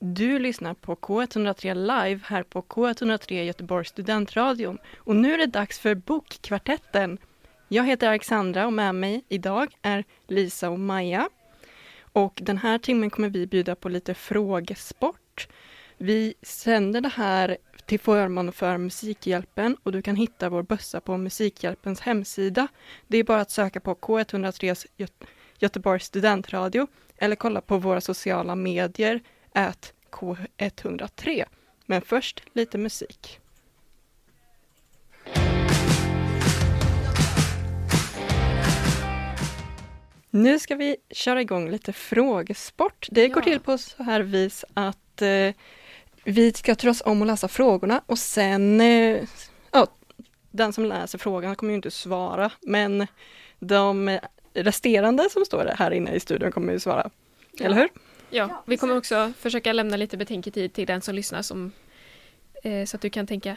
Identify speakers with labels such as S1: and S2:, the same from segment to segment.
S1: Du lyssnar på K103 Live här på K103 Göteborgs studentradion. Och nu är det dags för Bokkvartetten. Jag heter Alexandra och med mig idag är Lisa och Maja. Och den här timmen kommer vi bjuda på lite frågesport. Vi sänder det här till förmån för Musikhjälpen och du kan hitta vår bössa på Musikhjälpens hemsida. Det är bara att söka på K103 Göte- Göteborgs studentradio eller kolla på våra sociala medier at K103. Men först lite musik. Nu ska vi köra igång lite frågesport. Det går
S2: Ja.
S1: till på så här vis att eh, vi ska trots om och läsa frågorna och sen eh, ja, den som läser frågan kommer ju inte svara men de resterande som står här inne i studion kommer ju svara. Eller hur?
S3: Ja, vi kommer också försöka lämna lite betänketid till den som lyssnar som, eh, så att du kan tänka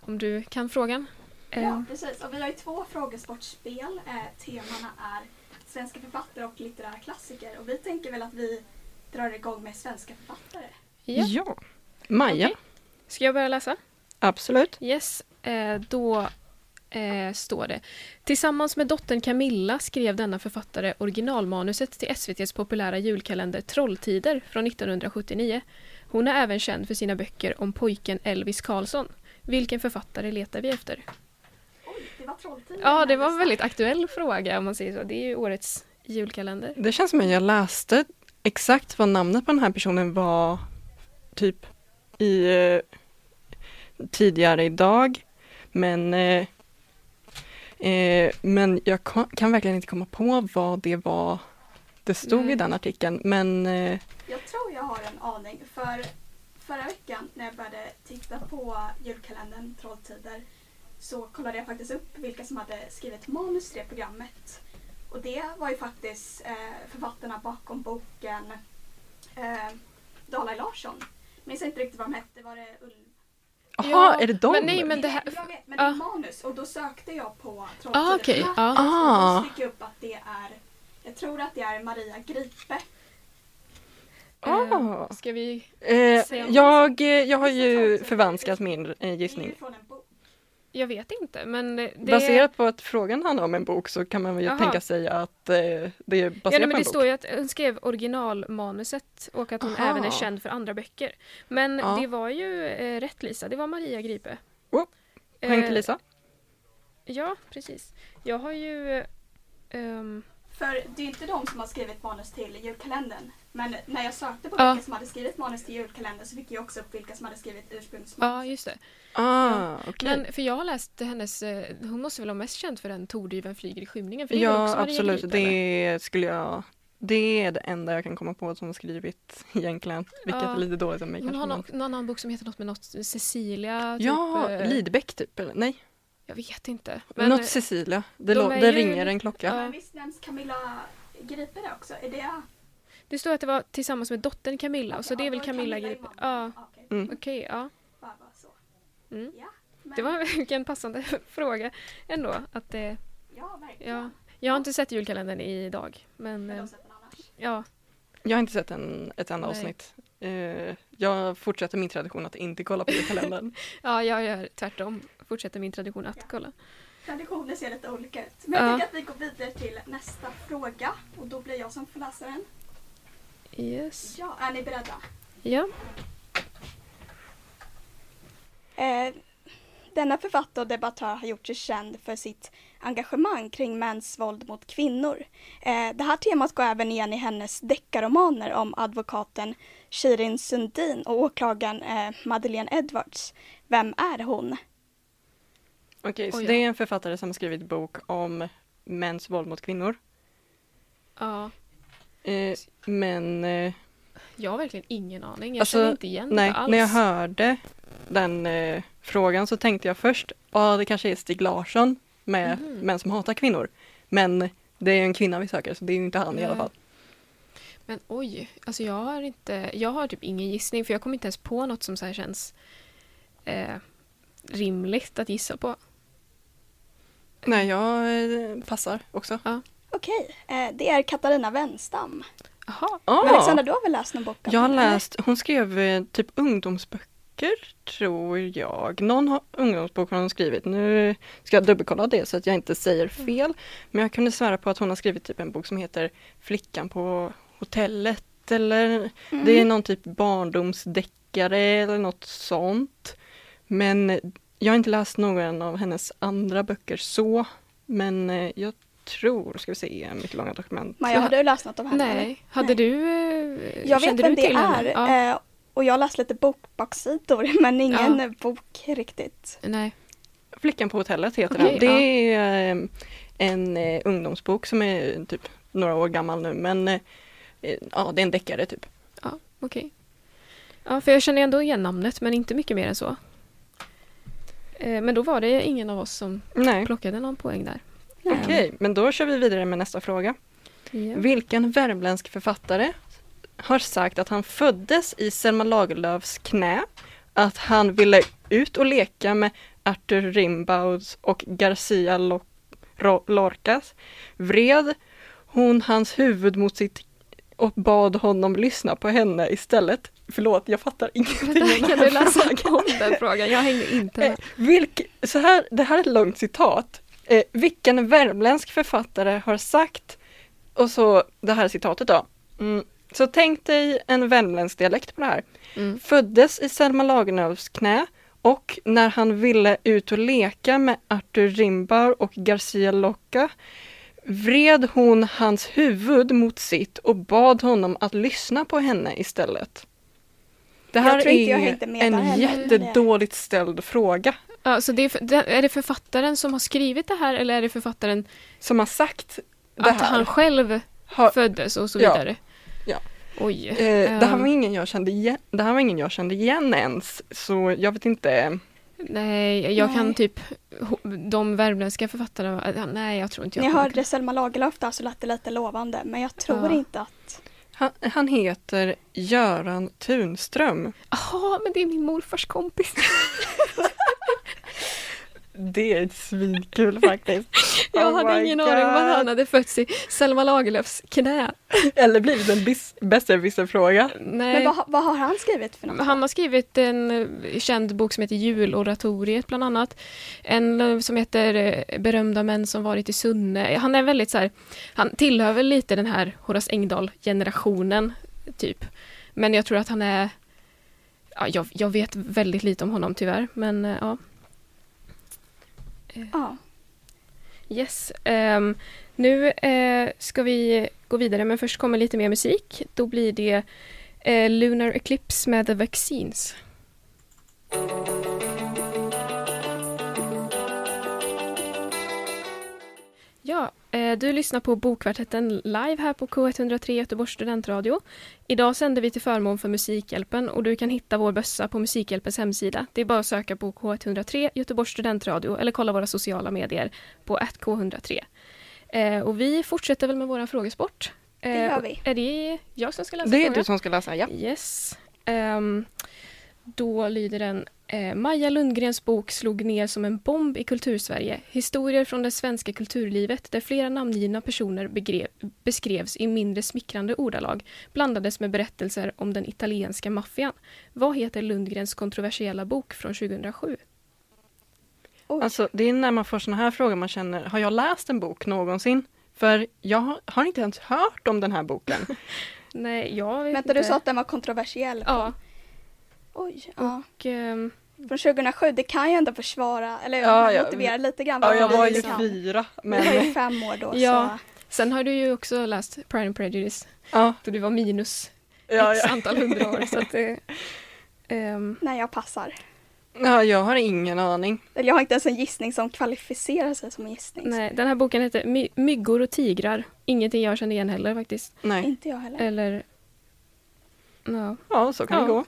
S3: om du kan frågan. Eh,
S4: Ja, precis. Och vi har ju två frågesportspel. Eh, temana är svenska författare och litterära klassiker. Och vi tänker väl att vi drar igång med svenska författare.
S3: ja.
S1: Maja,
S3: Okej. Ska jag börja läsa?
S1: absolut.
S3: Yes, eh, då eh, står det. Tillsammans med dottern Camilla skrev denna författare originalmanuset till SVTs populära julkalender Trolltider från 1979. Hon är även känd för sina böcker om pojken Elvis Karlsson. Vilken författare letar vi efter?
S4: Oj, det var Trolltider.
S3: Ja, det var en väldigt aktuell fråga om man säger så. Det är ju årets julkalender.
S1: Det känns som att jag läste exakt vad namnet på den här personen var typ i eh, tidigare idag. Men, eh, eh, men jag ka- kan verkligen inte komma på vad det var det stod
S3: Nej.
S1: i den artikeln. Men eh,
S4: Jag tror jag har en aning. För förra veckan när jag började titta på julkalendern Trolltider så kollade jag faktiskt upp vilka som hade skrivit manus till det programmet. Och det var ju faktiskt eh, författarna bakom boken eh, Dalai Larsson. Minns inte riktigt vad de hette, var det Ulf?
S1: aha,
S3: Ja,
S1: är det dem?
S3: men nej, men- det här-
S4: Jag vet, men
S3: ja.
S4: det är manus och då sökte jag på Trolltider.
S3: Ah, okej,
S4: Och
S3: ja.
S1: Ah.
S4: Då fick jag upp att det är, jag tror att det är Maria Gripe.
S1: Ah.
S3: Eh, Ska vi...
S1: Eh,
S3: Säg om-
S1: jag, eh, jag har ju förvanskat min eh,
S4: Det är ju
S1: gissning.
S4: från en bok.
S3: Jag vet inte, men det...
S1: Baserat på att frågan handlar om en bok så kan man väl
S3: Jaha.
S1: tänka sig att eh, det är
S3: ja,
S1: baserat
S3: nej,
S1: på
S3: men
S1: en
S3: det
S1: bok.
S3: står ju att hon skrev originalmanuset och att hon
S1: Aha.
S3: även är känd för andra böcker. Men
S1: Ja.
S3: det var ju eh, rätt Lisa, det var Maria Gripe.
S1: Oh, Poäng
S3: Eh,
S1: till Lisa.
S3: Ja, precis. Jag har ju... eh, ehm,
S4: För det är inte de som har skrivit manus till julkalendern. Men när jag sökte på
S3: Ja.
S4: vilka som hade skrivit manus till julkalendern så fick jag också upp vilka som hade skrivit
S3: ja,
S4: ursprungsmanus.
S3: just det.
S1: Ah, okej.
S3: Men för jag har läst hennes... eh, hon måste väl vara mest känd för den Tordyveln flyger i skymningen? För det är väl
S1: Ja,
S3: också Maria
S1: absolut.
S3: Gripe, eller?
S1: det skulle jag... Det är det enda jag kan komma på som har skrivit egentligen. Vilket
S3: Ja.
S1: är lite dåligt av mig
S3: Hon
S1: kanske.
S3: har
S1: men-
S3: någon, någon annan bok som heter något med något eh, Cecilia,
S1: Ja,
S3: typ. eh,
S1: Lidbeck typ. Eller? Nej,
S3: Jag vet inte. Men, eh,
S1: något Cecilia. Det,
S3: de
S1: lå-
S3: är
S1: det
S3: ju-
S1: ringer en klocka.
S4: Men visst nämns Camilla Gripe där också? Är det...
S3: Det står att det var tillsammans med dottern Camilla, så
S4: Ja,
S3: det är väl
S4: då
S3: Camilla
S4: i
S3: Gripe. Ja,
S4: mamman. Okej,
S1: Mm.
S3: okej, ja.
S4: bara, bara så.
S3: Mm.
S4: Ja, men,
S3: Det var vilken passande fråga ändå. Att det,
S4: Ja, verkligen.
S3: ja. Jag har inte sett julkalendern idag, men
S4: Men
S3: eh,
S4: de sätter annars.
S3: ja.
S1: Jag har inte sett en, ett enda
S3: Nej.
S1: avsnitt. Eh, jag fortsätter min tradition att inte kolla på kalendern.
S3: ja, jag gör tvärtom. Fortsätter min tradition
S4: Ja.
S3: att kolla.
S4: Traditioner ser lite olika ut. Men
S3: Ja.
S4: jag tycker att vi går vidare till nästa fråga. Och då blir jag som får läsa den.
S3: Yes.
S4: Ja, är ni beredda?
S3: Ja.
S4: Eh, Denna författare och debattör har gjort sig känd för sitt engagemang kring mäns våld mot kvinnor. Eh, Det här temat går även igen i hennes deckarromaner om advokaten Shirin Sundin och åklagaren eh, Madeleine Edwards. Vem är hon?
S1: Okej, så
S3: Oj,
S1: det är en författare som har skrivit bok om mäns våld mot kvinnor.
S3: ja.
S1: Eh, men eh,
S3: Jag har verkligen ingen aning. Jag
S1: Alltså,
S3: känner inte igen
S1: Nej,
S3: det alls.
S1: när jag hörde den eh, frågan så tänkte jag först, ja det kanske är Stig Larsson med
S3: Mhm.
S1: Män som hatar kvinnor. Men det är ju en kvinna vi söker så det är ju inte han i alla
S3: Nej.
S1: fall.
S3: Men oj, alltså jag har inte, jag har typ ingen gissning för jag kommer inte ens på något som så här känns eh, rimligt att gissa på.
S1: Nej, jag eh, passar också.
S4: Okej, eh, det är Katarina Wenstam.
S3: Jaha,
S1: Ah,
S4: Men Alexandra, du har väl läst någon bok om
S1: jag har
S4: henne, eller?
S1: läst, hon skrev eh, typ ungdomsböcker tror jag. Någon har, ungdomsbok har hon skrivit. Nu ska jag dubbelkolla det så att jag inte säger
S4: Mm.
S1: fel. Men jag kunde svära på att hon har skrivit typ en bok som heter Flickan på hotellet eller
S4: Mm.
S1: Det är någon typ barndomsdeckare eller något sånt. Men jag har inte läst någon av hennes andra böcker så. Men eh, jag tror, ska vi se, mitt långa dokument.
S4: Maja, har du läst något om henne? eller?
S3: nej. Hade
S4: Nej.
S3: du, eh,
S4: Jag vet
S3: kände
S4: vem
S3: du
S4: det
S3: till
S4: är
S3: henne? Ja,
S4: eh, och jag har läst lite bokbaksidor men ingen
S3: Ja.
S4: bok riktigt.
S3: nej.
S1: Flickan på hotellet heter
S3: Okej,
S1: den. Det är eh, en eh, ungdomsbok som är typ några år gammal nu men eh, eh, ja, det är en deckare typ.
S3: Ja, okej. Ja, för jag känner ändå igen namnet men inte mycket mer än så. Eh, men då var det ingen av oss som
S1: Nej,
S3: plockade någon poäng där.
S1: okej, men då kör vi vidare med nästa fråga.
S3: Ja.
S1: Vilken värmländsk författare har sagt att han föddes i Selma Lagerlöfs knä, att han ville ut och leka med Arthur Rimbauds och Garcia Lo- Ro- Lorcas, vred hon hans huvud mot sitt och bad honom lyssna på henne istället. Förlåt, jag fattar ingenting.
S3: Där
S1: av
S3: kan
S1: den här
S3: du läsa
S1: frågan.
S3: om den frågan, jag hängde inte
S1: Eh,
S3: med.
S1: vilk, så här, det här är ett långt citat. Eh, vilken värmländsk författare har sagt, och så det här citatet då. Mm. Så tänk dig en värmländsk dialekt på det här.
S3: Mm.
S1: Föddes i Selma Lagerlöfs knä och när han ville ut och leka med Arthur Rimbaud och Garcia Locka vred hon hans huvud mot sitt och bad honom att lyssna på henne istället. Det
S4: Jag
S1: här
S4: tror inte jag
S1: är
S4: hängde med där
S1: en
S4: heller.
S1: jättedåligt ställd fråga
S3: Ja, så det är, för- det- är det författaren som har skrivit det här eller är det författaren
S1: som har sagt det
S3: att
S1: här.
S3: han själv
S1: har,
S3: föddes och så
S1: Ja.
S3: vidare?
S1: Ja.
S3: Oj.
S1: eh, det, här
S3: Ehm,
S1: var ingen jag kände igen, det här var ingen jag kände igen ens, så jag vet inte.
S3: Nej, jag kan
S4: Nej.
S3: typ ho- de värmländska författarna. eh, Nej, jag tror inte jag
S4: När jag
S3: kommer-
S4: hörde Selma Lagerlöf där så lät det lite lovande men jag tror
S3: Ja.
S4: inte att...
S1: Han, han heter Göran Tunström.
S3: Jaha, men det är min morfars kompis.
S1: Det är svinkul faktiskt.
S3: Jag
S1: Oh
S3: hade
S1: my
S3: ingen aning om att
S1: God.
S3: han hade fötts i Selma Lagerlöfs knä.
S1: Eller blivit en bis- besserwisser-fråga.
S4: Men
S3: Nej.
S4: vad, vad har han skrivit för något?
S3: Han har skrivit en eh, känd bok som heter Juloratoriet bland annat. En eh, som heter eh, Berömda män som varit i Sunne. Han är väldigt så här, han tillhör väl lite den här Horace Engdahl-generationen, typ. Men jag tror att han är, ja, jag, jag vet väldigt lite om honom tyvärr, men eh, ja.
S4: Ja.
S3: Yes. ehm, nu eh, ska vi gå vidare, men först kommer lite mer musik. Då blir det eh, Lunar Eclipse med The Vaccines. Ja, eh, du lyssnar på Bokkvartetten live här på K103 Göteborgs studentradio. Idag sänder vi till förmån för Musikhjälpen och du kan hitta vår bössa på Musikhjälpens hemsida. Det är bara att söka på K103 Göteborgs studentradio eller kolla våra sociala medier på k103. Eh, och vi fortsätter väl med våran frågesport. Eh,
S4: Det gör vi.
S3: och Är det jag som ska läsa
S1: Det är
S3: frågan?
S1: du som ska läsa, ja.
S3: Yes. Ehm, då lyder den eh, Maja Lundgrens bok slog ner som en bomb i kultursverige. Historier från det svenska kulturlivet där flera namngivna personer begrev, beskrevs i mindre smickrande ordalag blandades med berättelser om den italienska maffian. Vad heter Lundgrens kontroversiella bok från 2007?
S4: Oj.
S1: Alltså det är när man får såna här frågor man känner, har jag läst en bok någonsin? För jag har- har inte ens hört om den här boken.
S3: Nej, jag vet
S4: Vänta,
S3: inte.
S4: du sa att den var kontroversiell.
S3: Ja,
S4: Oj, ja.
S3: och, ehm,
S4: Från 2007, det kan ju ändå försvara, eller
S1: Ja,
S4: man
S1: ja.
S4: motiverar lite grann.
S1: Ja,
S4: vad
S1: jag
S4: vi
S1: var ju
S4: kan.
S1: fyra,
S4: Vi var ju
S1: men
S4: fem år då
S3: Ja.
S4: ja.
S3: sen har du ju också läst Pride and Prejudice
S1: ja,
S3: då du var minus
S1: ja,
S3: x
S1: ja.
S3: antal hundra år. Så att, eh, ehm,
S4: så nej jag passar.
S1: ja, jag har ingen aning.
S4: Eller jag har inte ens en gissning som kvalificerar sig som en gissning.
S3: nej, den här boken heter My- Myggor och tigrar. Ingenting jag kände igen heller faktiskt.
S1: Nej.
S4: Inte jag heller.
S3: Eller Ja,
S1: Ja, så kan
S3: Ja.
S1: det gå.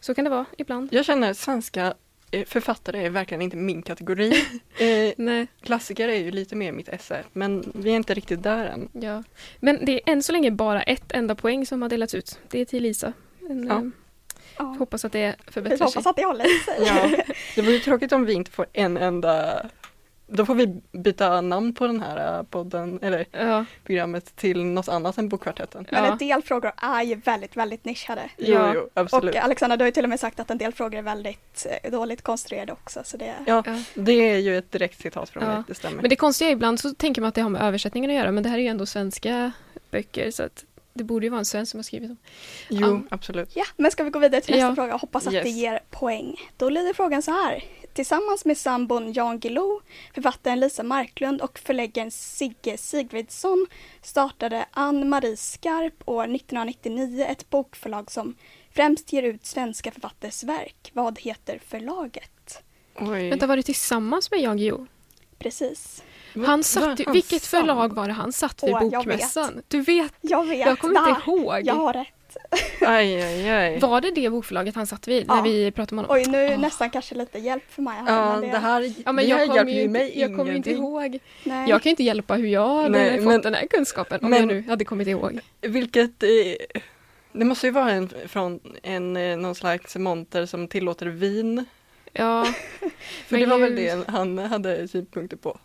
S3: så kan det vara ibland.
S1: Jag känner att svenska eh, författare är verkligen inte min kategori. Eh,
S3: Nej,
S1: klassiker är ju lite mer mitt esse, men vi är inte riktigt där än.
S3: ja. Men det är än så länge bara ett enda poäng som har delats ut. Det är till Lisa. En,
S1: Ja.
S3: eh,
S4: Ja.
S3: Hoppas att det
S4: Vi
S3: förbättrar sig.
S4: hoppas att det håller sig.
S1: Ja, det vore ju tråkigt om vi inte får en enda då får vi byta namn på den här eh, podden, eller
S3: Ja,
S1: programmet till något annat än Bokkvartetten.
S4: Men
S3: Ja.
S4: en del frågor är ju väldigt, väldigt nischade.
S1: Jo,
S3: Ja. eh,
S1: jo, absolut.
S4: Och Alexandra, du har ju till och med sagt att en del frågor är väldigt eh, dåligt konstruerade också. Så det,
S1: Ja,
S3: ja.
S1: det är ju ett direkt citat från
S3: Ja.
S1: mig, det stämmer.
S3: Men det konstiga är ibland så tänker man att det har med översättningen att göra men det här är ju ändå svenska böcker så att det borde ju vara en svensk som har skrivit dem.
S1: jo,
S3: Ja.
S1: absolut.
S4: ja, men ska vi gå vidare till nästa
S3: Ja.
S4: fråga och hoppas att
S1: Yes.
S4: det ger poäng. Då lyder frågan så här. Tillsammans med sambon Jan Guillou, författaren Lisa Marklund och förläggaren Sigge Sigvidsson startade Ann-Marie Skarp år 1999 ett bokförlag som främst ger ut svenska författares verk. Vad heter förlaget?
S1: Oj.
S3: Vänta, var det tillsammans med Jan Guillou?
S4: Precis.
S3: Han
S1: Var
S3: satt, ju-
S1: han
S3: vilket
S1: sann?
S3: förlag var det han satt vid
S4: Åh, jag
S3: bokmässan? Du vet,
S4: Jag vet.
S3: jag kommer
S4: Där.
S3: inte ihåg.
S4: Jag har rätt.
S1: Aj, aj, aj.
S3: Var det det bokförlaget han satt vid när
S4: Ja.
S3: vi pratade om honom?
S4: Oj, nu
S3: Åh.
S4: nästan kanske lite hjälp för Maja. här,
S1: Ja,
S4: men
S1: det här,
S3: Ah. Ja, men
S1: det här
S3: jag kommer
S1: hjälper
S3: ju
S1: ju mig
S3: inte, jag kommer ju inte
S1: ingenting.
S3: ihåg.
S4: nej.
S3: Jag kan ju inte hjälpa hur jag hade
S1: Nej,
S3: fått
S1: men-
S3: den här kunskapen om
S1: men-
S3: jag nu hade kommit ihåg.
S1: Vilket, eh, det måste ju vara en, från en, eh, någon slags monter som tillåter vin.
S3: Ja,
S1: För
S3: Men
S1: det var väl
S3: gud.
S1: det han hade synpunkter på.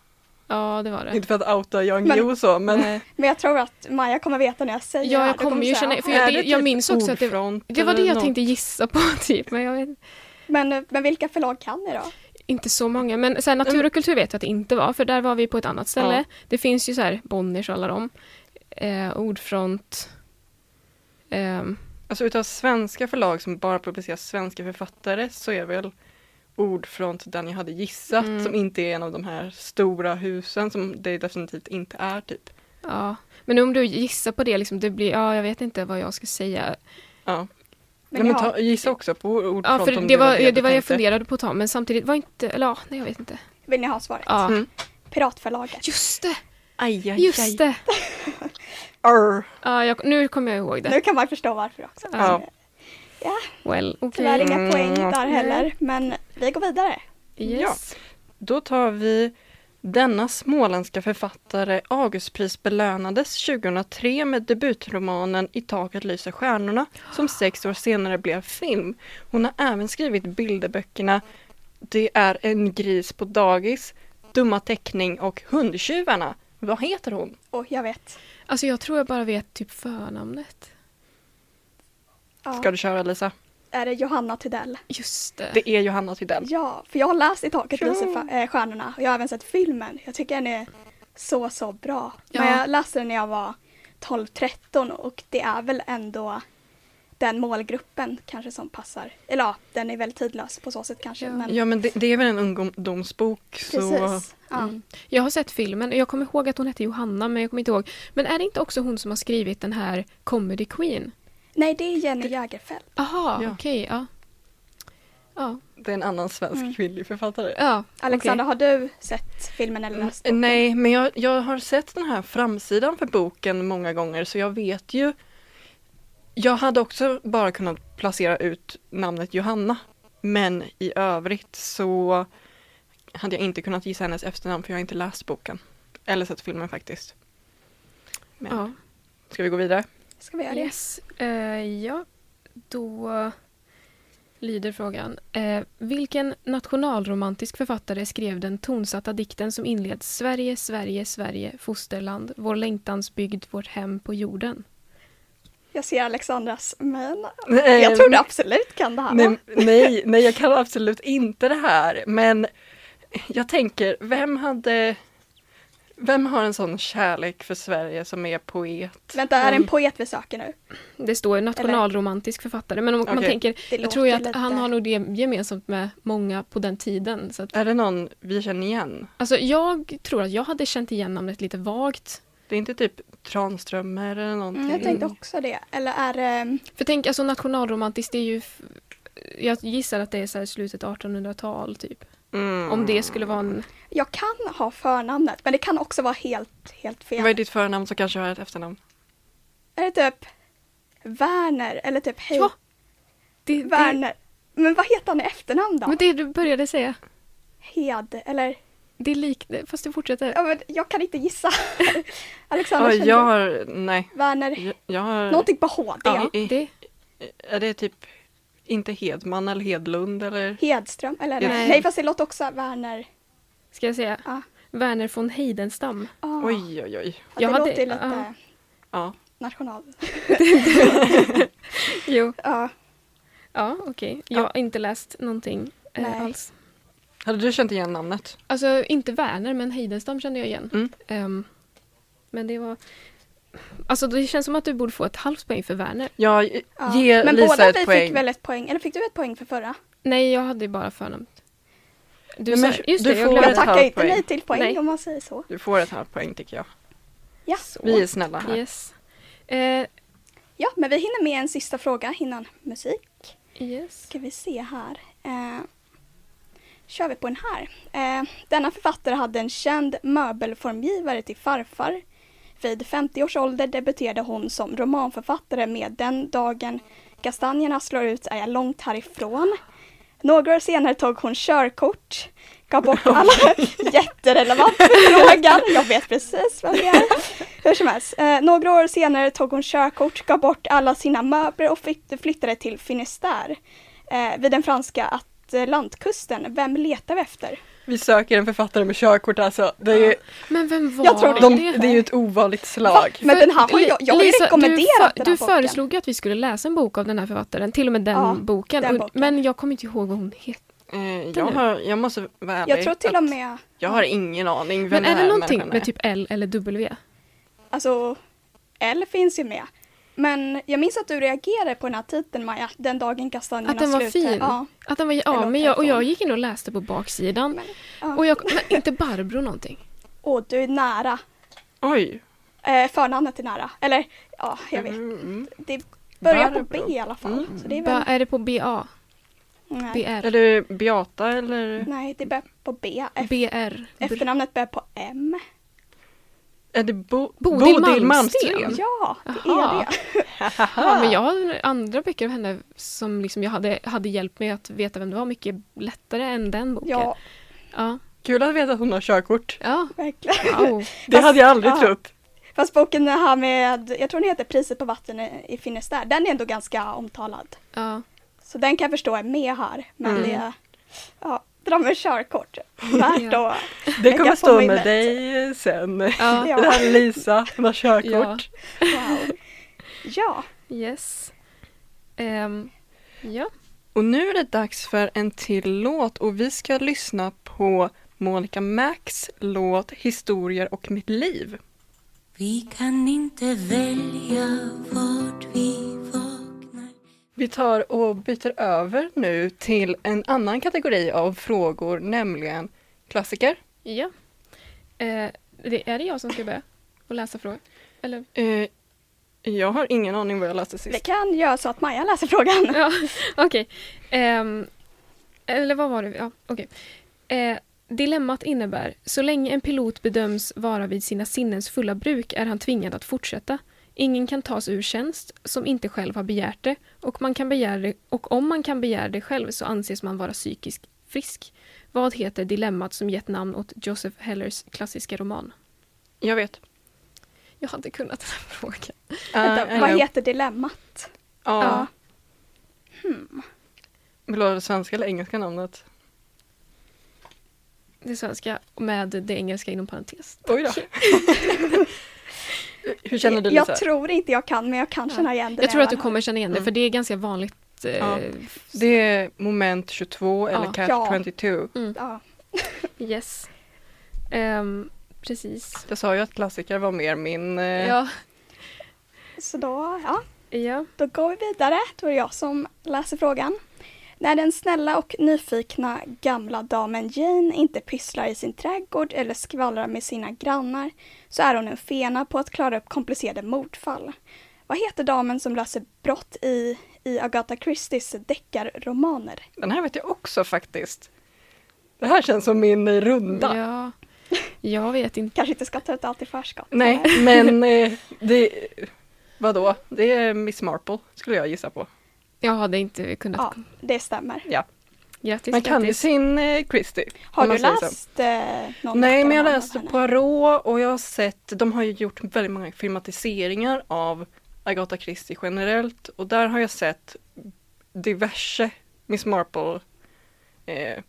S3: ja det var det. Eh,
S1: Inte för att outa Jan
S4: Men-
S1: Guillou så, men
S3: Nej.
S4: Men jag tror att Maja kommer veta när jag säger det
S3: Ja,
S4: här.
S3: jag
S4: Då
S3: kommer ju
S4: jag säga,
S3: känna, för
S4: "Ja."
S3: jag,
S1: Är
S3: det,
S1: det
S3: jag
S1: typ
S3: minns också att det,
S1: ordfront
S3: det var det
S1: eller
S3: jag
S1: något?
S3: tänkte gissa på typ, men jag vet
S4: men, eh, men vilka förlag kan ni då?
S3: Inte så många, men så här, natur och kultur vet jag att det inte var, för där var vi på ett annat ställe.
S1: Ja.
S3: Det finns ju så här Bonniers och alla dem. Eh, ordfront. Ehm,
S1: Alltså utav svenska förlag som bara publicerar svenska författare så är väl Ordfront den jag hade gissat
S3: Mm.
S1: som inte är en av de här stora husen som det definitivt inte är typ.
S3: ja. Men om du gissar på det, liksom, det blir, ja, jag vet inte vad jag ska säga.
S1: Ja.
S4: Men
S1: Men, Nej, men
S4: jag har-
S1: ta, gissa också på Ordfront
S3: Ja, för
S1: om
S3: det var det,
S1: du
S3: var jag
S1: tänkte.
S3: funderade på att ta, men samtidigt var inte, eller ja, nej jag vet inte.
S4: Vill ni ha svaret?
S3: Ja.
S1: Mm.
S4: Piratförlaget.
S3: Just det,
S1: Aj, aj,
S3: just det.
S1: Arr.
S3: Ja, jag, nu kommer jag ihåg det.
S4: Nu kan man förstå varför också. eh,
S1: Ja.
S3: Well, okej.
S4: Tyvärr inga
S1: Mm.
S4: poäng där
S3: Nej.
S4: heller, men vi går vidare.
S3: Yes.
S1: Då tar vi denna småländska författare Augustpris belönades 2003 med debutromanen I taket lyser stjärnorna som sex år senare blev film. Hon har även skrivit bilderböckerna Det är en gris på dagis, Dumma teckning och Hundtjuvarna. Vad heter hon?
S4: Och jag vet.
S3: Alltså jag tror jag bara vet typ förnamnet.
S4: Ja.
S1: Ska du köra Lisa?
S4: Är det Johanna Tudell?
S3: Just det.
S1: Det är Johanna Tidell.
S4: Ja, för jag har läst I taket
S1: Ja.
S4: lyser fa- eh, stjärnorna och jag har även sett filmen. Jag tycker den är så, så bra. Men
S3: Ja.
S4: jag läste den när jag var 12-13 och det är väl ändå den målgruppen kanske som passar. Eller ja, den är väldigt tidlös på så sätt kanske.
S3: Ja.
S4: Men
S1: Ja men det, det är väl en ungdomsbok så...
S4: precis. Ja.
S3: Mm. Jag har sett filmen och jag kommer ihåg att hon hette Johanna men jag kommer inte ihåg. Men är det inte också hon som har skrivit den här Comedy Queen?
S4: Nej, det är Jenny Jägerfeld.
S3: Aha,
S1: Ja.
S3: okej, ja. Ja,
S1: Det är en annan svensk
S4: Mm.
S1: kvinnlig författare.
S3: ja.
S4: Alexandra, har du sett filmen eller läst boken?
S1: Mm, Nej, men jag, jag har sett den här framsidan för boken många gånger så jag vet ju. Jag hade också bara kunnat placera ut namnet Johanna, men i övrigt så hade jag inte kunnat gissa hennes efternamn för jag har inte läst boken. Eller sett filmen faktiskt.
S3: okej.
S1: Men ska vi gå vidare?
S4: Ska vi göra
S3: Ja,
S4: det?
S3: yes. Eh, ja, då lyder frågan. Eh, vilken nationalromantisk författare skrev den tonsatta dikten som inleds Sverige, Sverige, Sverige, fosterland, vår längtans bygd, vårt hem på jorden?
S4: Jag ser Alexandras men
S1: Nej,
S4: Jag tror du absolut kan det här. va?
S1: Ehm. nej, nej, nej, jag kan absolut inte det här, men jag tänker, vem hade vem har en sån kärlek för Sverige som är poet?
S4: Vänta, är det en poet vi söker nu?
S3: Det står ju nationalromantisk författare, men om man
S1: Okej.
S3: tänker,
S4: Det
S3: jag tror ju att
S4: låter
S3: han
S4: lite-
S3: har nog det gemensamt med många på den tiden. Så att,
S1: Är det någon vi känner igen?
S3: alltså jag tror att jag hade känt igen namnet lite vagt.
S1: Det är inte typ Tranströmer eller någonting?
S4: Mm, jag tänkte också det. Eller är ehm, det...
S3: För tänk, alltså nationalromantiskt, det är ju... f- Jag gissar att det är så här slutet 1800-tal, typ.
S1: Mm.
S3: Om det skulle vara en...
S4: Jag kan ha förnamnet, men det kan också vara helt, helt fel.
S1: Vad är ditt förnamn så kanske jag har ett efternamn?
S4: Är det typ Werner, eller typ hej
S3: Ja, Det, det,
S4: Werner. Men vad heter han i efternamn då?
S3: men det du började säga,
S4: Hed, eller?
S3: det liknar, fast du fortsätter.
S4: Ja, men jag kan inte gissa. Alexander
S1: Ja,
S4: känner
S1: jag
S4: du?
S1: har, nej.
S4: Werner,
S1: Jag, jag har...
S4: någonting på H, det.
S1: Ja, i-
S3: Det,
S1: Är det typ inte Hedman eller Hedlund eller?
S4: Hedström, eller?
S3: Nej.
S4: Nej. Nej, fast det låter också Werner.
S3: ska jag säga.
S4: Ja.
S3: Werner von Heidenstam.
S4: Ah,
S1: Oj, oj, oj.
S4: ja,
S3: jag
S4: det
S3: hade-
S4: låter ju lite
S3: ja.
S1: Ja.
S4: national.
S3: Jo,
S4: Ja,
S3: ja okej. Jag har inte läst någonting
S4: Nej.
S3: eh, alls.
S1: Hade du känt igen namnet?
S3: Alltså inte Werner, men Heidenstam kände jag igen.
S1: Mm.
S3: Ehm, men det var... Alltså det känns som att du borde få ett halvt poäng för Werner.
S1: Ja, ge
S4: ja. Men
S1: Lisa
S4: båda
S1: ett
S4: vi
S1: poäng.
S4: fick väl ett poäng, eller fick du ett poäng för förra?
S3: Nej, jag hade ju bara förnamnet. Du
S1: Nej, men
S3: sa, just
S1: du
S3: det, jag
S1: får
S3: glömde.
S4: Jag
S1: ett halvt
S4: tackar inte
S1: poäng.
S4: nej till poäng
S3: Nej.
S4: om man säger så.
S1: Du får ett halvt poäng tycker jag.
S4: Ja.
S1: Vi är snälla här.
S3: Yes. Eh,
S4: ja, men vi hinner med en sista fråga innan musik.
S3: yes.
S4: Ska vi se här. Eh, kör vi på den här. Eh, denna författare hade en känd möbelformgivare till farfar. Vid 50 års ålder debuterade hon som romanförfattare med Den dagen kastanjerna slår ut är jag långt härifrån. Några år senare tog hon körkort, gav bort alla jätterelevant frågan. Jag vet precis vad det är. Hur som helst, eh, några år senare tog hon körkort, gav bort alla sina möbler och flytt- flyttade till Finisterre eh, vid den franska Atlantkusten. Vem letar vi efter?
S1: Vi söker en författare med körkort alltså. Det är ju,
S3: Men vem var
S4: Jag tror
S1: de,
S3: det?
S1: det är ju ett ovanligt slag.
S4: Men den här har ju
S3: Li-
S4: jag, jag har ju
S3: Lisa,
S4: rekommenderat
S3: du, för,
S4: den här
S3: Du
S4: boken.
S3: föreslog ju att vi skulle läsa en bok av den här författaren, till och med den,
S4: Ja,
S3: boken.
S4: den
S3: Och-
S4: boken.
S3: Men jag kommer inte ihåg vad hon heter.
S1: Eh, jag, har, jag måste vara ärlig.
S4: Jag tror till
S1: att
S4: och med,
S1: Jag har ingen aning vem
S3: Men
S1: den
S3: är det
S1: här
S3: någonting
S1: människan
S3: med typ L eller W?
S4: alltså L finns ju med. Men jag minns att du reagerade på den här titeln Maja, den dagen kastanjerna
S3: Att den var
S4: slutar.
S3: fin?
S4: Ja,
S3: Att den var, ja,
S4: Eller
S3: men jag, och jag
S4: telefon.
S3: gick in och läste på baksidan.
S4: men, ja.
S3: och jag, men inte Barbro någonting?
S4: Åh, du är nära.
S1: Oj.
S4: Eh, förnamnet är nära. Eller ja, jag vet.
S1: Mm.
S4: Det börjar på B
S1: Barbro.
S4: i alla fall.
S1: Mm.
S4: Så det är
S3: Ba,
S4: väl,
S3: är det på BA?
S4: nej.
S1: Är
S3: BR?
S1: det Beata eller?
S4: nej, det börjar på B. F-
S3: BR?
S4: Efternamnet börjar på M.
S1: Är det Bo-
S3: Bodil Malmsten.
S4: Ja, det
S3: Jaha.
S4: är det.
S3: Ja, men jag har andra böcker av henne som liksom jag hade, hade hjälpt mig att veta vem det var mycket lättare än den boken.
S4: Ja,
S3: Ja.
S1: Kul att veta att hon har körkort.
S3: ja.
S4: verkligen.
S3: Wow.
S1: Det
S4: Fast-
S1: hade jag aldrig
S4: ja.
S1: trott.
S4: Fast boken här med, jag tror den heter Priset på vatten i i Finisterre, den är ändå ganska omtalad.
S3: Ja.
S4: Så den kan jag förstå är med här, men
S1: Mm.
S4: det, ja, dra med körkort. Värt
S3: Ja.
S4: att
S1: Det
S4: lägga
S1: kommer
S4: på
S1: stå med
S4: minnet.
S1: dig sen.
S3: ja.
S1: Det här är Lisa, hon har körkort.
S4: Wow. Ja,
S3: Yes. Ehm, ja.
S1: Och nu är det dags för en till låt och vi ska lyssna på Monica Max låt Historier och mitt liv.
S5: Vi kan inte välja vart vi vaknar
S1: Vi tar och byter över nu till en annan kategori av frågor, nämligen klassiker.
S3: ja. Eh, det, är det jag som ska börja och läsa frågan? Eller?
S1: Eh, jag har ingen aning vad jag läste
S4: vi
S1: sist.
S4: kan göra så att Maja läser frågan.
S3: Ja, okej. Ehm, eller vad var det? Ja, okej. Eh, dilemmat innebär, så länge en pilot bedöms vara vid sina sinnens fulla bruk är han tvingad att fortsätta. Ingen kan tas ur tjänst som inte själv har begärt det och, man kan begära det, och om man kan begära det själv så anses man vara psykiskt frisk. Vad heter dilemmat som gett namn åt Joseph Hellers klassiska roman?
S1: Jag vet.
S3: Jag hade kunnat den här frågan.
S4: Vänta, vad heter dilemmat?
S1: Eh, Ja.
S3: Ja.
S1: Vill du ha det svenska eller engelska namnet?
S3: Det svenska med det engelska inom parentes.
S1: Oj då. Hur känner du Lisa?
S4: Jag tror inte jag kan, men jag kan känna igen det.
S3: Jag
S4: när
S3: tror att du
S4: hör.
S3: kommer känna igen det,
S1: Mm.
S3: för det är ganska vanligt. Eh,
S1: Ja. Det är moment 22 eller
S3: Ja.
S1: catch
S4: Ja.
S1: 22.
S4: Ja,
S3: Yes. Ehm, precis.
S1: Jag sa ju att klassiker var mer min... eh,
S3: Ja.
S4: så då, ja.
S3: ja.
S4: Då går vi vidare. Då är det jag som läser frågan. När den snälla och nyfikna gamla damen Jane inte pysslar i sin trädgård eller skvallrar med sina grannar så är hon en fena på att klara upp komplicerade mordfall. Vad heter damen som löser brott i, i Agatha Christies deckarromaner?
S1: Den här vet jag också faktiskt. Det här känns som min runda.
S3: ja. Jag vet inte.
S4: Kanske inte ska ta ut allt i förskott.
S1: Nej,
S4: eller?
S1: men eh, det, Vadå? Det är Miss Marple, skulle jag gissa på.
S3: Jag hade inte kunnat.
S4: Ja, det stämmer.
S1: Ja.
S3: Grattis,
S1: Man kan ju
S3: grattis.
S1: sin eh, Christie.
S4: Har
S1: om man
S4: du
S1: säger så.
S4: läst eh, någon
S1: Nej, men jag
S4: roman av
S1: läste
S4: henne?
S1: Poirot och jag har sett, de har ju gjort väldigt många filmatiseringar av Agatha Christie generellt och där har jag sett diverse Miss Marple eh,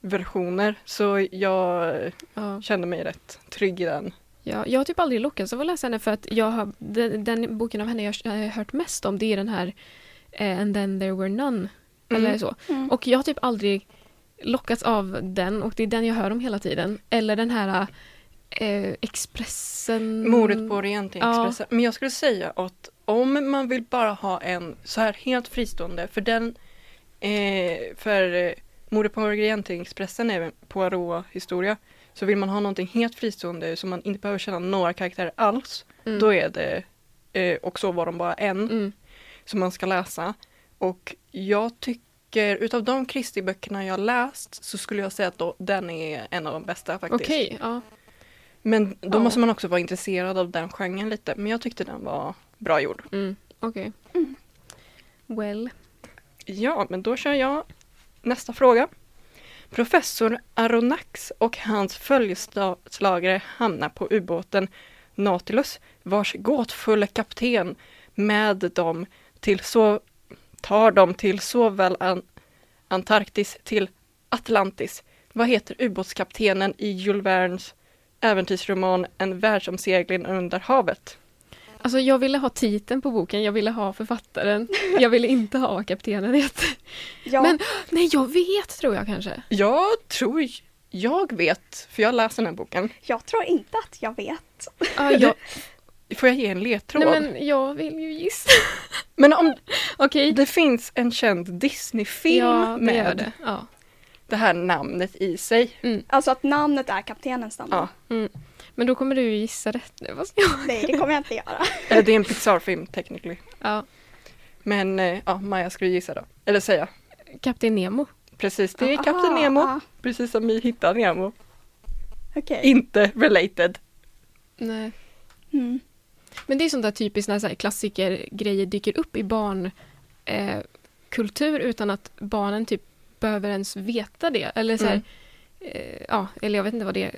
S1: versioner så jag
S3: Ja.
S1: kände mig rätt trygg i den.
S3: Ja, jag har typ aldrig lockats av att läsa henne för att jag har, den, den boken av henne jag har hört mest om det är den här eh, And then there were none. Eller
S1: Mm.
S3: så.
S4: Mm.
S3: Och jag har typ aldrig lockats av den och det är den jag hör om hela tiden. Eller den här eh, Expressen...
S1: Mordet på Orient i
S3: Mm. Ja.
S1: Expressen. Men jag skulle säga att om man vill bara ha en så här helt fristående, för den, eh, för eh, Mordet på Orient i Expressen är en Poirot-historia, så vill man ha någonting helt fristående som man inte behöver känna några karaktärer alls,
S3: Mm.
S1: då är det, eh, och så var de bara en,
S3: Mm.
S1: som man ska läsa. Och jag tycker, utav de Christie-böckerna jag läst, så skulle jag säga att då, den är en av de bästa faktiskt.
S3: Okej, ja.
S1: Men då
S3: Ja.
S1: måste man också vara intresserad av den genren lite. Men jag tyckte den var bra gjord.
S3: Mm. Okej. Well.
S1: Ja, men då kör jag nästa fråga. Professor Aronnax och hans följeslagare hamnar på ubåten Nautilus, vars gåtfulla kapten med dem till så tar dem till såväl an Antarktis till Atlantis. Vad heter ubåtskaptenen i Jules Vernes äventyrsroman En världsomsegling under havet?
S3: Alltså jag ville ha titeln på boken, jag ville ha författaren. Jag ville inte ha vad kaptenen heter.
S4: Ja,
S3: Men nej, jag vet tror jag kanske.
S1: Jag tror jag vet, för jag läser den här boken.
S4: jag tror inte att jag vet.
S3: Ja, jag,
S1: Får jag ge en ledtråd?
S3: nej,
S1: men...
S3: men jag vill ju gissa.
S1: om
S3: Okej.
S1: det finns en känd Disney-film
S3: Ja, det gör
S1: med
S3: det. Ja.
S1: det här namnet i sig.
S4: Alltså att namnet är kaptenens namn.
S1: Ja.
S3: Men då kommer du ju gissa rätt nu. Vad ska jag?
S4: Nej, det kommer jag inte göra.
S1: Eh, Det är en Pixar-film technically.
S3: Ja.
S1: Men eh, ja, Maja skulle gissa då. Eller säga.
S3: Kapten Nemo.
S1: Precis, det är
S4: Ah,
S1: Kapten Nemo.
S4: ah,
S1: Precis som i Hitta Nemo.
S4: Okej.
S1: Inte related.
S3: Nej.
S4: Mm.
S3: Men det är sånt där typiskt när så här klassikergrejer dyker upp i barnkultur eh, kultur utan att barnen typ behöver ens veta det. Eller så här,
S1: Mm.
S3: eh, ja, eller jag vet inte vad det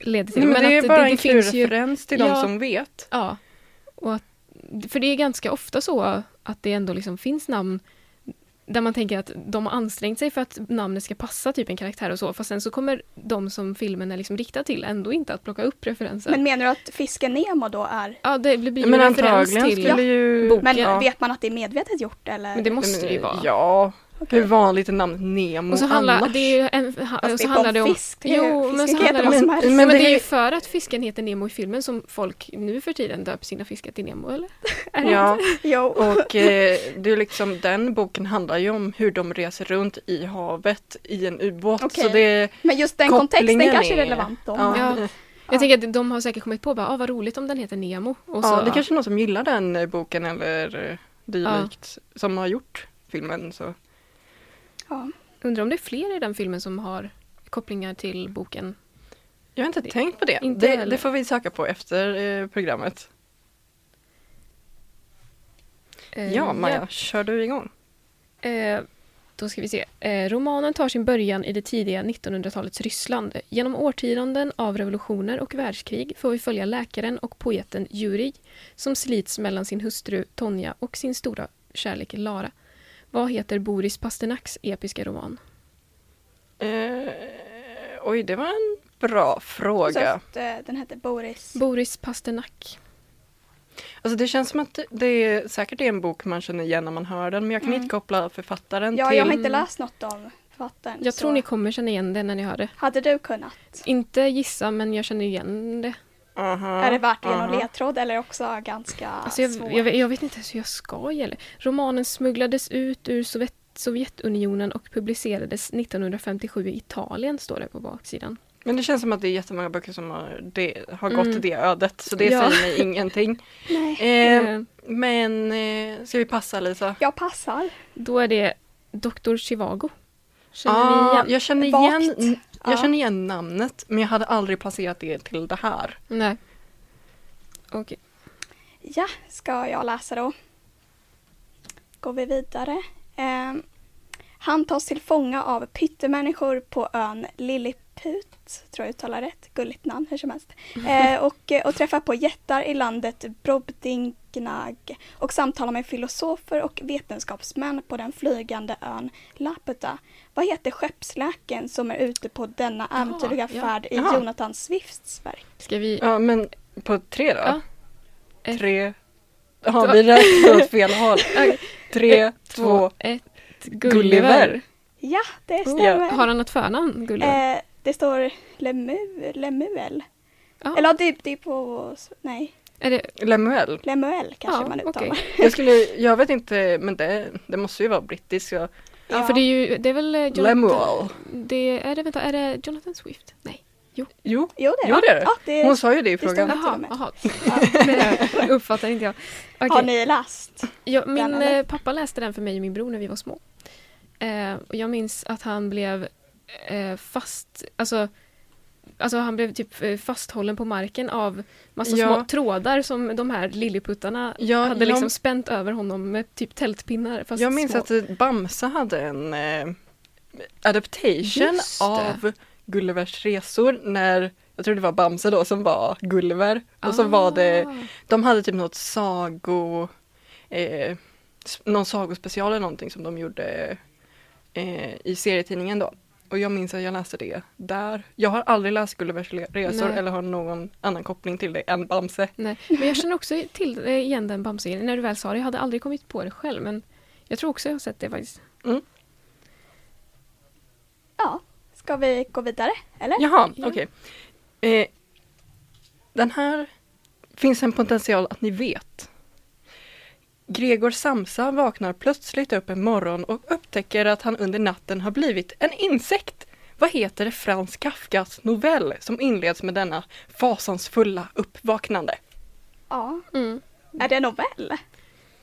S3: leder till.
S1: Nej, men det är
S3: att
S1: bara en
S3: finns
S1: kul
S3: ju-
S1: referens till de
S3: Ja.
S1: som vet.
S3: Ja. Och att, för det är ganska ofta så att det ändå liksom finns namn där man tänker att de har ansträngt sig för att namnet ska passa typ en karaktär och så, fast sen så kommer de som filmen är liksom riktad till ändå inte att plocka upp referenser.
S4: Men menar du att fisken Nemo då är...
S3: ja, det blir ju
S1: Men
S3: en referens
S1: antagligen
S3: till...
S1: skulle ju...
S3: boken.
S4: Men
S1: ja.
S4: vet man att det är medvetet gjort eller?
S3: Men det måste det ju vara.
S1: Ja,
S4: Okej.
S1: hur vanligt är namnet Nemo
S3: Och så handlar
S1: annars?
S3: det, är ju en, ha,
S4: Fast
S3: och
S4: det
S3: så
S4: är
S3: handlar
S4: bara
S3: det om...
S4: fisk. Det är ju-
S3: Jo, men
S4: fisken
S3: så
S4: kan
S3: handlar det
S4: heta
S3: om...
S4: vad som
S3: Men,
S4: helst.
S1: men
S3: det,
S1: det
S3: är
S1: är-
S3: ju för att fisken heter Nemo i filmen som folk nu för tiden döper sina fiskar till Nemo, eller? Är det
S1: Ja,
S4: Jo.
S1: och eh, det är liksom, den boken handlar ju om hur de reser runt i havet i en ubåt.
S4: Okej.
S1: Så det,
S4: Men just den
S1: kopplingen
S4: kontexten kanske är
S1: är-
S4: relevant då.
S1: ja,
S3: Ja.
S1: ja.
S3: Jag tänker att de har säkert kommit på bara, ah, vad roligt om den heter Nemo. Och så,
S1: det är kanske är någon som gillar den eh, boken eller eh, dylikt som har gjort filmen. Så.
S4: Ja.
S3: Undrar om det är fler i den filmen som har kopplingar till boken.
S1: Jag har inte
S3: Det-
S1: tänkt på det.
S3: inte
S1: det.
S3: heller.
S1: Det får vi söka på efter eh, programmet.
S3: Eh,
S1: Ja, Maja, kör du igång?
S3: ja. Eh, då ska vi se. Eh, romanen tar sin början i det tidiga 1900-talets Ryssland. Genom årtionden av revolutioner och världskrig får vi följa läkaren och poeten Jurij som slits mellan sin hustru Tonja och sin stora kärlek Lara. Vad heter Boris Pasternaks episka roman?
S1: Eh, oj, det var en bra
S4: Så
S1: fråga.
S4: att, eh, den hette Boris.
S3: Boris Pasternak.
S1: Alltså det känns som att det- det är, säkert är en bok man känner igen när man hör den, men jag kan inte koppla författaren
S4: Mm. ja,
S1: till...
S4: jag har inte läst något om författaren.
S3: Jag
S4: så-
S3: tror ni kommer känna igen det när ni hör det.
S4: Hade du kunnat?
S3: Inte gissa, men jag känner igen det.
S1: Aha,
S4: är det verkligen någon
S1: aha.
S4: ledtråd eller också ganska
S3: Alltså jag,
S4: svår?
S3: jag, vet- jag vet inte ens hur jag ska gälla. Romanen smugglades ut ur Sovjet, Sovjetunionen och publicerades 1957 i Italien, står det på baksidan.
S1: Men det känns som att det är jättemånga böcker som har, det, har gått
S3: Mm.
S1: det ödet, så det
S3: Ja.
S1: säger mig ingenting.
S4: Nej,
S1: Eh,
S3: Eh,
S1: men eh, ska vi passa Lisa?
S4: jag passar.
S3: Då är det Dr. Chivago. Känner ni
S1: Ah,
S3: igen?
S1: jag känner
S4: Vagt.
S1: igen,
S4: Ja.
S1: jag känner igen namnet, men jag hade aldrig placerat det till det här.
S3: Nej. Okej.
S4: Ja, ska jag läsa då. Går vi vidare. Ehm, han tas till fånga av pyttemänniskor på ön Lilliput, tror jag uttalar rätt, gulligt namn hur som helst. Eh, och, och träffar på jättar i landet Brobdingnag och samtalar med filosofer och vetenskapsmän på den flygande ön Laputa. Vad heter skeppsläkaren som är ute på denna
S3: Jaha,
S4: äventyrliga
S3: ja.
S4: färd i
S1: Jaha.
S4: Jonathan Swifts verk?
S3: Ska vi...
S1: Ja, men på tre då?
S3: Ja. Ett.
S1: Tre. Ja, vi räknar åt fel håll. Tre, två.
S3: Ett.
S1: Gulliver.
S3: Gulliver.
S4: Ja, det stämmer.
S3: Har han något förnamn, Gulliver?
S4: Eh, det står Lemu, Lemuel.
S3: Ja.
S4: Eller ja, det, det är på, nej,
S3: Är det...
S1: Lemuel.
S4: Lemuel kanske
S3: Ja,
S4: man uttalar.
S3: okej.
S1: Jag skulle, jag vet inte, men det, det måste ju vara brittiskt. Ja.
S3: Ja, för det är ju... Det är väl... eh, Jonathan...
S1: Lemuel.
S3: Det är det, vänta, är det Jonathan Swift? Nej.
S1: Jo,
S4: Jo, det är
S1: Jo, det är det.
S4: Ja, det
S1: hon sa ju det i
S4: står
S1: frågan.
S4: här. till
S3: Jaha,
S4: och med.
S3: jaha.
S4: ja.
S3: Men eh, uppfattar inte jag. Okej.
S4: Har ni läst?
S3: Ja, min
S4: eller?
S3: eh, pappa läste den för mig och min bror när vi var små. Eh, och jag minns att han blev eh, fast, alltså, alltså han blev typ eh, fasthållen på marken av massa
S1: Ja.
S3: små trådar som de här lilliputtarna
S1: Ja,
S3: hade
S1: jag-
S3: liksom spänt över honom med typ tältpinnar. Fast
S1: jag minns
S3: små.
S1: att eh, Bamse hade en eh, adaptation
S3: Just det.
S1: av Gullivers resor när, jag tror det var Bamse då som var Gulliver. Och så
S3: Ah.
S1: var det De hade typ något sago, eh, s- någon sagospecial eller någonting som de gjorde eh, i serietidningen då. Och jag minns att jag läste det där. Jag har aldrig läst Gullivers le- resor
S3: Nej.
S1: eller har någon annan koppling till det än Bamse.
S3: Nej, men jag känner också till eh, igen den bamse När du väl sa det, jag hade aldrig kommit på det själv men jag tror också jag har sett det faktiskt.
S4: Ja, ska vi gå vidare? Eller?
S1: Jaha,
S3: Ja.
S1: okej. Eh, den här finns en potential att ni vet. Gregor Samsa vaknar plötsligt upp en morgon och upptäcker att han under natten har blivit en insekt. Vad heter Frans Kafkas novell som inleds med denna fasansfulla uppvaknande?
S4: Ja.
S3: Mm.
S4: Är det en novell?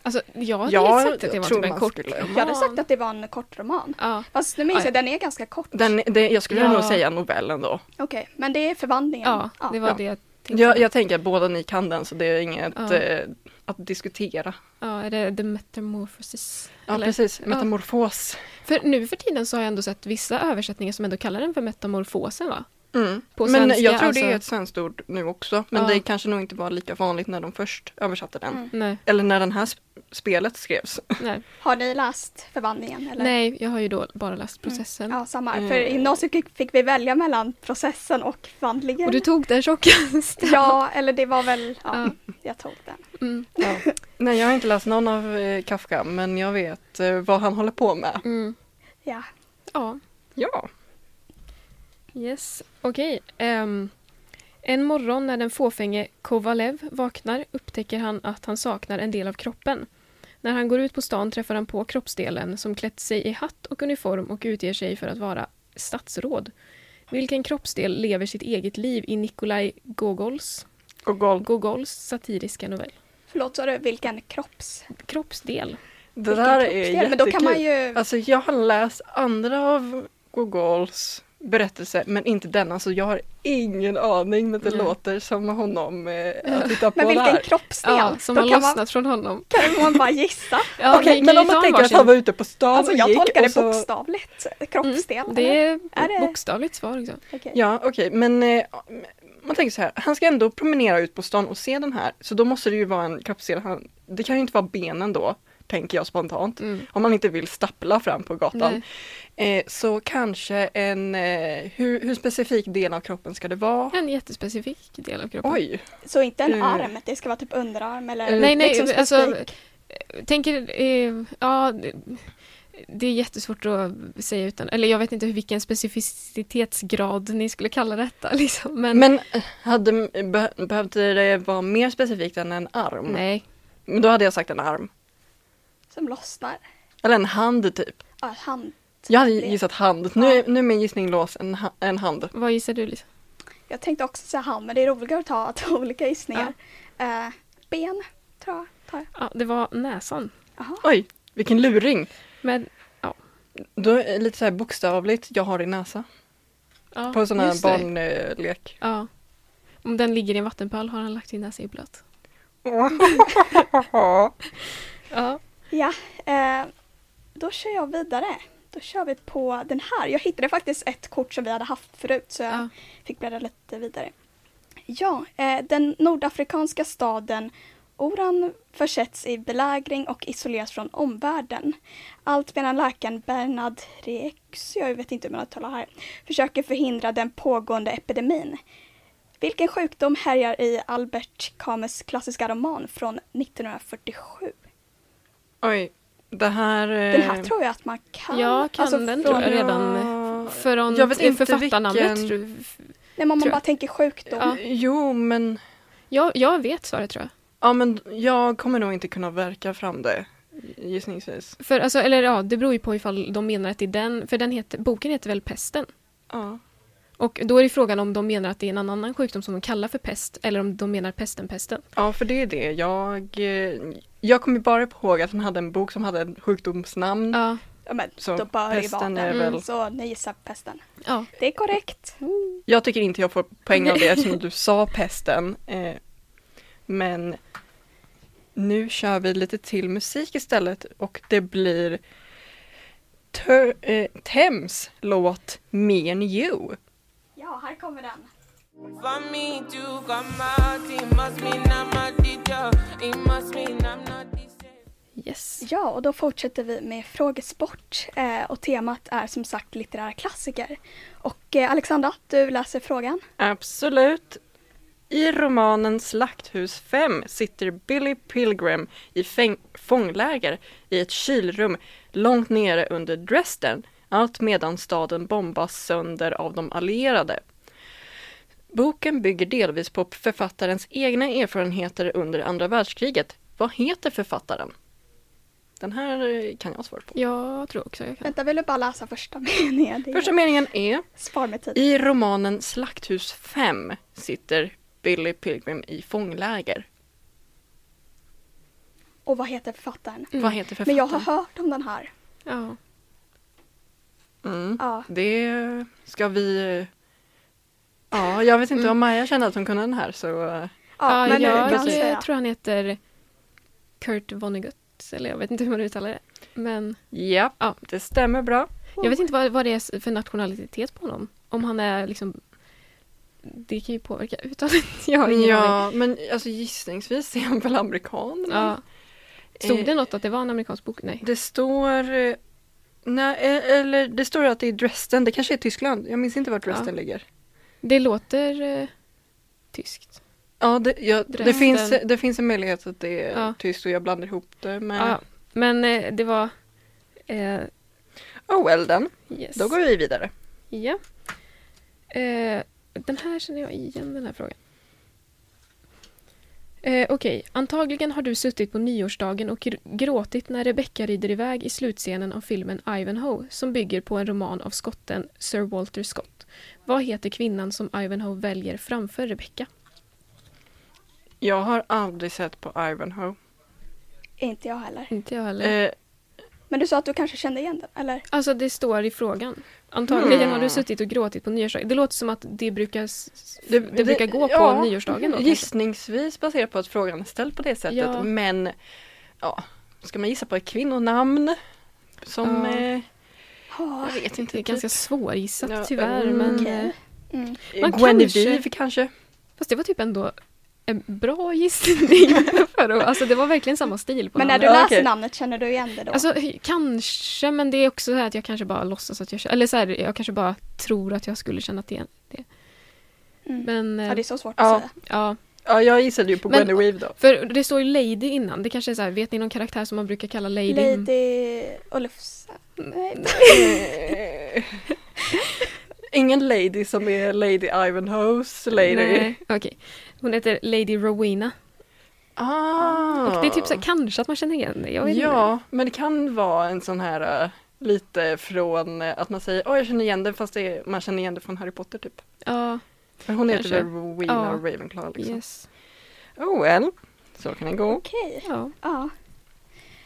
S3: Alltså jag hade
S1: Jag
S3: sagt att det var
S1: tror
S3: typ en
S1: man
S3: kort
S1: skulle-
S4: Jag hade sagt att det var en kort roman.
S3: Ja.
S4: Fast nu minns
S3: Ja.
S4: jag, den är ganska kort.
S1: Den, det, jag skulle
S3: Ja.
S1: nog säga novellen då.
S4: Okej, men det är förvandlingen.
S3: ja, det var
S1: Ja.
S3: det jag tänkte.
S1: Jag, jag tänker att båda ni kan den så det är inget
S3: Ja.
S1: eh, att diskutera.
S3: Ja, är det The Metamorphosis?
S1: Ja,
S3: Eller-
S1: precis. Metamorfos.
S3: För nu för tiden så har jag ändå sett vissa översättningar som ändå kallar den för metamorfosen va?
S1: Mm.
S3: På
S1: men
S3: svenska,
S1: jag tror det är
S3: alltså.
S1: ett svenskt ord nu också. Men
S3: Ja.
S1: det kanske nog inte var lika vanligt när de först översatte den.
S4: Mm.
S3: Nej,
S1: Eller när den här sp- spelet skrevs.
S3: nej.
S4: Har ni läst förvandlingen? Eller?
S3: nej, jag har ju då bara läst processen.
S4: Ja, samma.
S1: Mm.
S4: För i gymnasiet fick- fick vi välja mellan processen och förvandlingen.
S3: Och du tog den tjockaste.
S4: Ja, eller det var väl, ja, jag tog den.
S3: Mm,
S1: Nej, jag har inte läst någon av eh, Kafka, men jag vet eh, vad han håller på med.
S3: mm.
S4: Ja.
S3: Ja,
S1: Ja.
S3: yes. Okej. ehm, en morgon när den fåfänge Kovalev vaknar upptäcker han att han saknar en del av kroppen. När han går ut på stan träffar han på kroppsdelen som klätt sig i hatt och uniform och utger sig för att vara statsråd. Vilken kroppsdel lever sitt eget liv i Nikolaj Gogols
S1: Gogol.
S3: Gogols satiriska novell.
S4: Förlåt, sa du vilken kropps?
S3: Kroppsdel.
S1: Det där är
S4: vilken
S1: jättekul.
S4: Men då kan man ju...
S1: Alltså jag har läst andra av Gogols berättelser, men inte denna, så jag har ingen aning. Men det
S3: Nej.
S1: låter som honom eh, att titta på
S4: Men vilken
S1: där.
S4: kroppsdel?
S3: Ja, som
S4: då
S3: har
S4: kan
S3: lossnat
S4: man,
S3: från honom.
S4: kan man bara gissa.
S3: Ja,
S1: Okej,
S3: vi kan
S1: men
S3: ju
S1: om man
S3: ta
S1: tänker att
S3: varsin.
S1: han var ute på stan
S4: Alltså
S1: och
S4: jag
S1: gick
S4: tolkar
S1: och
S4: det
S1: så...
S4: bokstavligt. Kroppsdel.
S3: Mm, det är
S4: Är det-
S3: ett bokstavligt svar också.
S4: eller? Okej.
S1: Ja, okej, men eh, man tänker så här, han ska ändå promenera ut på stan och se den här, så då måste det ju vara en kroppsdel. Han, det kan ju inte vara benen då, tänker jag spontant.
S3: Mm.
S1: Om man inte vill stappla fram på gatan. Eh, så kanske en, eh, hur, hur specifik del av kroppen ska det vara?
S3: En jättespecifik del av kroppen.
S1: Oj,
S4: Så inte en
S1: Eh.
S4: arm, det ska vara typ underarm eller
S1: Mm.
S3: Nej, nej,
S4: liksom
S3: alltså,
S4: specifik.
S3: tänker, eh, ja, det- det är jättesvårt att säga utan, eller jag vet inte hur- vilken specificitetsgrad ni skulle kalla detta liksom, men,
S1: men eh, hade, be, behövde det vara mer specifikt än en arm?
S3: nej.
S1: Men då hade jag sagt en arm.
S4: som lossnar.
S1: Eller en hand typ.
S4: Ja, hand.
S1: Jag hade
S4: Det-
S1: gissat hand. Nu,
S4: Ja.
S1: är- nu är min gissning lås, en, ha- en hand.
S3: Vad gissar du liksom? Lisa?
S4: Jag tänkte också säga hand, men det är roligare att ta att ha olika gissningar. Eh, ben, tror jag. Tar jag.
S3: Ja, det var näsan.
S4: Jaha.
S1: Oj, vilken luring!
S3: Men,
S1: Då är det lite så här bokstavligt, jag har din näsa.
S3: ja,
S1: På sån här
S3: just det.
S1: barnlek.
S3: Ja. Om den ligger i en vattenpöl har han lagt in näsa i blöt. Ja.
S4: Ja, eh, då kör jag vidare. Då kör vi på den här. Jag hittade faktiskt ett kort som vi hade haft förut så jag
S3: Ja.
S4: fick bläddra lite vidare. Ja, eh, den nordafrikanska staden Oran försätts i belägring och isoleras från omvärlden. Allt medan läkaren Bernard Rex, jag vet inte hur man uttalar här, försöker förhindra den pågående epidemin. Vilken sjukdom härjar i Albert Camus klassiska roman från 1947?
S1: Oj, det här... eh,
S4: Den här tror jag att man kan. Alltså,
S3: Jag kan den, tror
S4: från-
S3: jag. redan,
S1: Ja,
S3: Från
S1: Jag vet inte
S3: författarnamnet.
S1: vilken-
S3: tror-
S4: Nej, men om man
S3: tror jag.
S4: bara tänker sjukdom.
S3: Ja.
S1: Jo, men...
S3: Jag, jag vet svaret tror jag.
S1: Ja, men jag kommer nog inte kunna verka fram det, gissningsvis.
S3: För alltså, eller ja, det beror ju på ifall de menar att det är den, för den heter, boken heter väl Pesten?
S1: Ja.
S3: Och då är det frågan om de menar att det är en annan sjukdom som de kallar för pest, eller om de menar pesten, pesten.
S1: ja, för det är det. Jag, eh, jag kommer bara ihåg att han hade en bok som hade ett sjukdomsnamn.
S4: Mm.
S3: Ja,
S4: Ja, men
S1: Så
S4: då bör det ju vara
S1: pesten är
S4: den.
S1: väl-
S4: Så ni gissar pesten.
S3: ja.
S4: Det är korrekt.
S1: Jag tycker inte jag får poäng av det eftersom du sa pesten. Eh, men nu kör vi lite till musik istället och det blir Tö- eh, Thames låt Me and You.
S4: Ja, här kommer den.
S6: For me to come out, it must mean I'm a teacher. It must mean I'm not the same.
S3: Yes.
S4: Ja, och då fortsätter vi med frågesport eh, och temat är som sagt litterära klassiker. Och eh, Alexandra, du läser frågan.
S1: Absolut. I romanen Slakthus 5 sitter Billy Pilgrim i fäng- fångläger i ett kylrum långt nere under Dresden, allt medan staden bombas sönder av de allierade. Boken bygger delvis på författarens egna erfarenheter under andra världskriget. Vad heter författaren? Den här eh, kan jag svara på.
S3: Jag tror också jag kan.
S4: Vänta, vill du bara läsa första meningen? Det är-
S1: Första meningen är
S4: Spar med tid.
S1: i romanen Slakthus 5 sitter Billy Pilgrim i fångläger.
S4: Och vad heter författaren?
S3: Mm.
S1: Vad heter
S4: Men
S1: författaren?
S4: jag har hört om den här.
S3: Ja.
S1: Mm.
S4: Ja.
S1: Det ska vi... Ja, jag vet inte
S3: Mm.
S1: om Maja kände att hon kunde den här så...
S3: Ja,
S4: men
S3: jag
S4: du kan säga.
S3: tror han heter Kurt Vonnegut, eller jag vet inte hur man uttalar det. Men
S1: Japp,
S3: Ja.
S1: det stämmer bra.
S3: jag
S4: Oh.
S3: vet inte vad, vad det är för nationalitet på honom. Om han är liksom... Det kan ju påverka uttalet. Jag har ingen aning.
S1: Ja, men alltså gissningsvis är han väl amerikan? eller?
S4: Mm.
S3: Ja. Stod
S1: Eh,
S3: det något att det var en amerikansk bok? Nej.
S1: Det står... eh, Nej, eh, eller det står att det är Dresden. Det kanske är Tyskland. Jag minns inte var Dresden
S3: Ja.
S1: ligger.
S3: Det låter eh, tyskt.
S1: Ja, det, ja, det,
S3: Dresden.
S1: finns, det finns en möjlighet att det är
S3: Ja.
S1: tyskt och jag blandar ihop det med...
S3: Ja, men eh, det var... Eh,
S1: Oh well then.
S3: yes.
S1: Då går vi vidare.
S3: Ja. Eh, den här känner jag igen, den här frågan. Eh, Okej, antagligen har du suttit på nyårsdagen och gr- gråtit när Rebecca rider iväg i slutscenen av filmen Ivanhoe som bygger på en roman av skotten Sir Walter Scott. Vad heter kvinnan som Ivanhoe väljer framför Rebecca?
S1: Jag har aldrig sett på Ivanhoe.
S4: Inte jag heller.
S3: Inte jag heller.
S1: Eh,
S4: Men du sa att du kanske kände igen den, eller?
S3: Alltså det står i frågan. Antagligen
S1: Mm.
S3: har du suttit och gråtit på nyårsdagen. Det låter som att det brukar, s-
S1: Det-
S3: det,
S1: det-
S3: brukar gå på
S1: ja,
S3: nyårsdagen då. kanske.
S1: Gissningsvis baserat på att frågan är ställd på det sättet
S3: Ja.
S1: men ja, ska man gissa på ett kvinnonamn? Som,
S3: Ja.
S1: eh,
S4: Ja.
S1: jag vet inte.
S3: Det är ganska svårgissat
S1: Ja,
S3: tyvärr
S1: mm.
S3: men...
S4: Typ. Okej.
S3: eh,
S4: Mm.
S1: man
S3: man
S1: Guinevere kanske?
S3: kanske- Fast det var typ ändå en bra gissning. för att, alltså det var verkligen samma stil på
S4: Men när
S3: namnet.
S4: du
S1: Ja,
S4: läser
S1: okej.
S4: namnet, känner du igen det då?
S3: Alltså kanske, men det är också så här att jag kanske bara låtsas att jag känner, eller så här, jag kanske bara tror att jag skulle känna igen det.
S4: Mm.
S3: Men eh,
S4: ja, det är så svårt
S1: Ja.
S4: att säga.
S3: ja,
S1: Ja, jag gissade ju på
S3: Men-
S1: Guinevere då.
S3: för det står ju Lady innan, det kanske är så här, vet ni någon karaktär som man brukar kalla Lady? Mm.
S4: Lady Olufsa. Nej.
S1: Eh, Ingen lady som är Lady Ivanhoes lady.
S3: Nej, okej. Hon heter Lady Rowena.
S1: Ah.
S3: Och det är typ så här, kanske att man känner igen det. Jag vet
S1: Ja, men det kan vara en sån här eh, lite från eh, att man säger åh jag känner igen den fast det är, man känner igen det från Harry Potter typ.
S3: inte. Ja,
S1: Men hon heter
S3: Kanske.
S1: väl Rowena
S3: Ja.
S1: Ravenclaw liksom.
S3: yes.
S1: Oh well, så kan det gå.
S4: Okej,
S3: Ja.
S4: ja.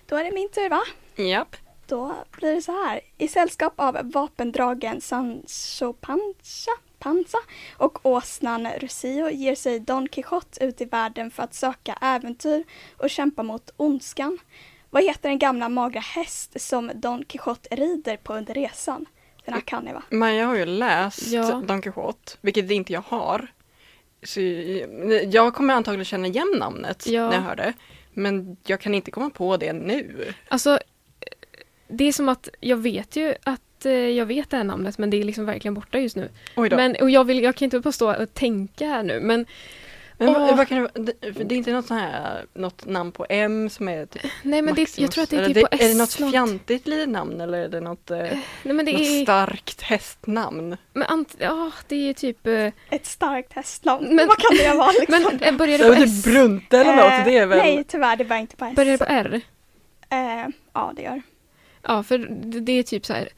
S4: Då är det min tur va?
S1: Japp.
S4: Då blir det så här. I sällskap av vapendragen Sancho Panza, Panza och åsnan Rusio ger sig Don Quijote ut i världen för att söka äventyr och kämpa mot ondskan. Vad heter den gamla magra häst som Don Quijote rider på under resan? Den här kan ni va?
S1: Men jag har ju läst
S3: Ja.
S1: Don Quijote, vilket inte jag har. Så eh, jag kommer antagligen känna igen namnet
S3: Ja.
S1: när jag hör det. Men jag kan inte komma på det nu.
S3: Alltså, eh, det är som att jag vet ju att eh, jag vet det här namnet men det är liksom verkligen borta just nu.
S1: Oj då. Men,
S3: Men, och jag, vill, jag kan inte bara stå och tänka här nu men
S1: vad,
S3: åh.
S1: vad kan det, vara? det, för det är inte något, sån här, något namn på M som är typ
S3: nej men det, jag
S1: Maximus.
S3: tror att det är
S1: Eller
S3: typ på S.
S1: Är det något fjantigt litet namn eller är det något, eh,
S3: Nej men det
S1: något
S3: är,
S1: starkt hästnamn?
S3: men ant, ja det är typ, eh,
S4: Ett starkt hästnamn.
S3: Men-
S4: Vad kan det vara liksom? Eh,
S3: men eh, börjar
S1: Det
S3: det
S1: är
S3: på Eh,
S1: typ
S3: S?
S1: Brunte eller något, det är väl...
S4: Nej tyvärr, det börjar inte på S.
S3: Börjar det på R?
S4: Eh, ja det gör
S3: Ja, för det, det är typ så här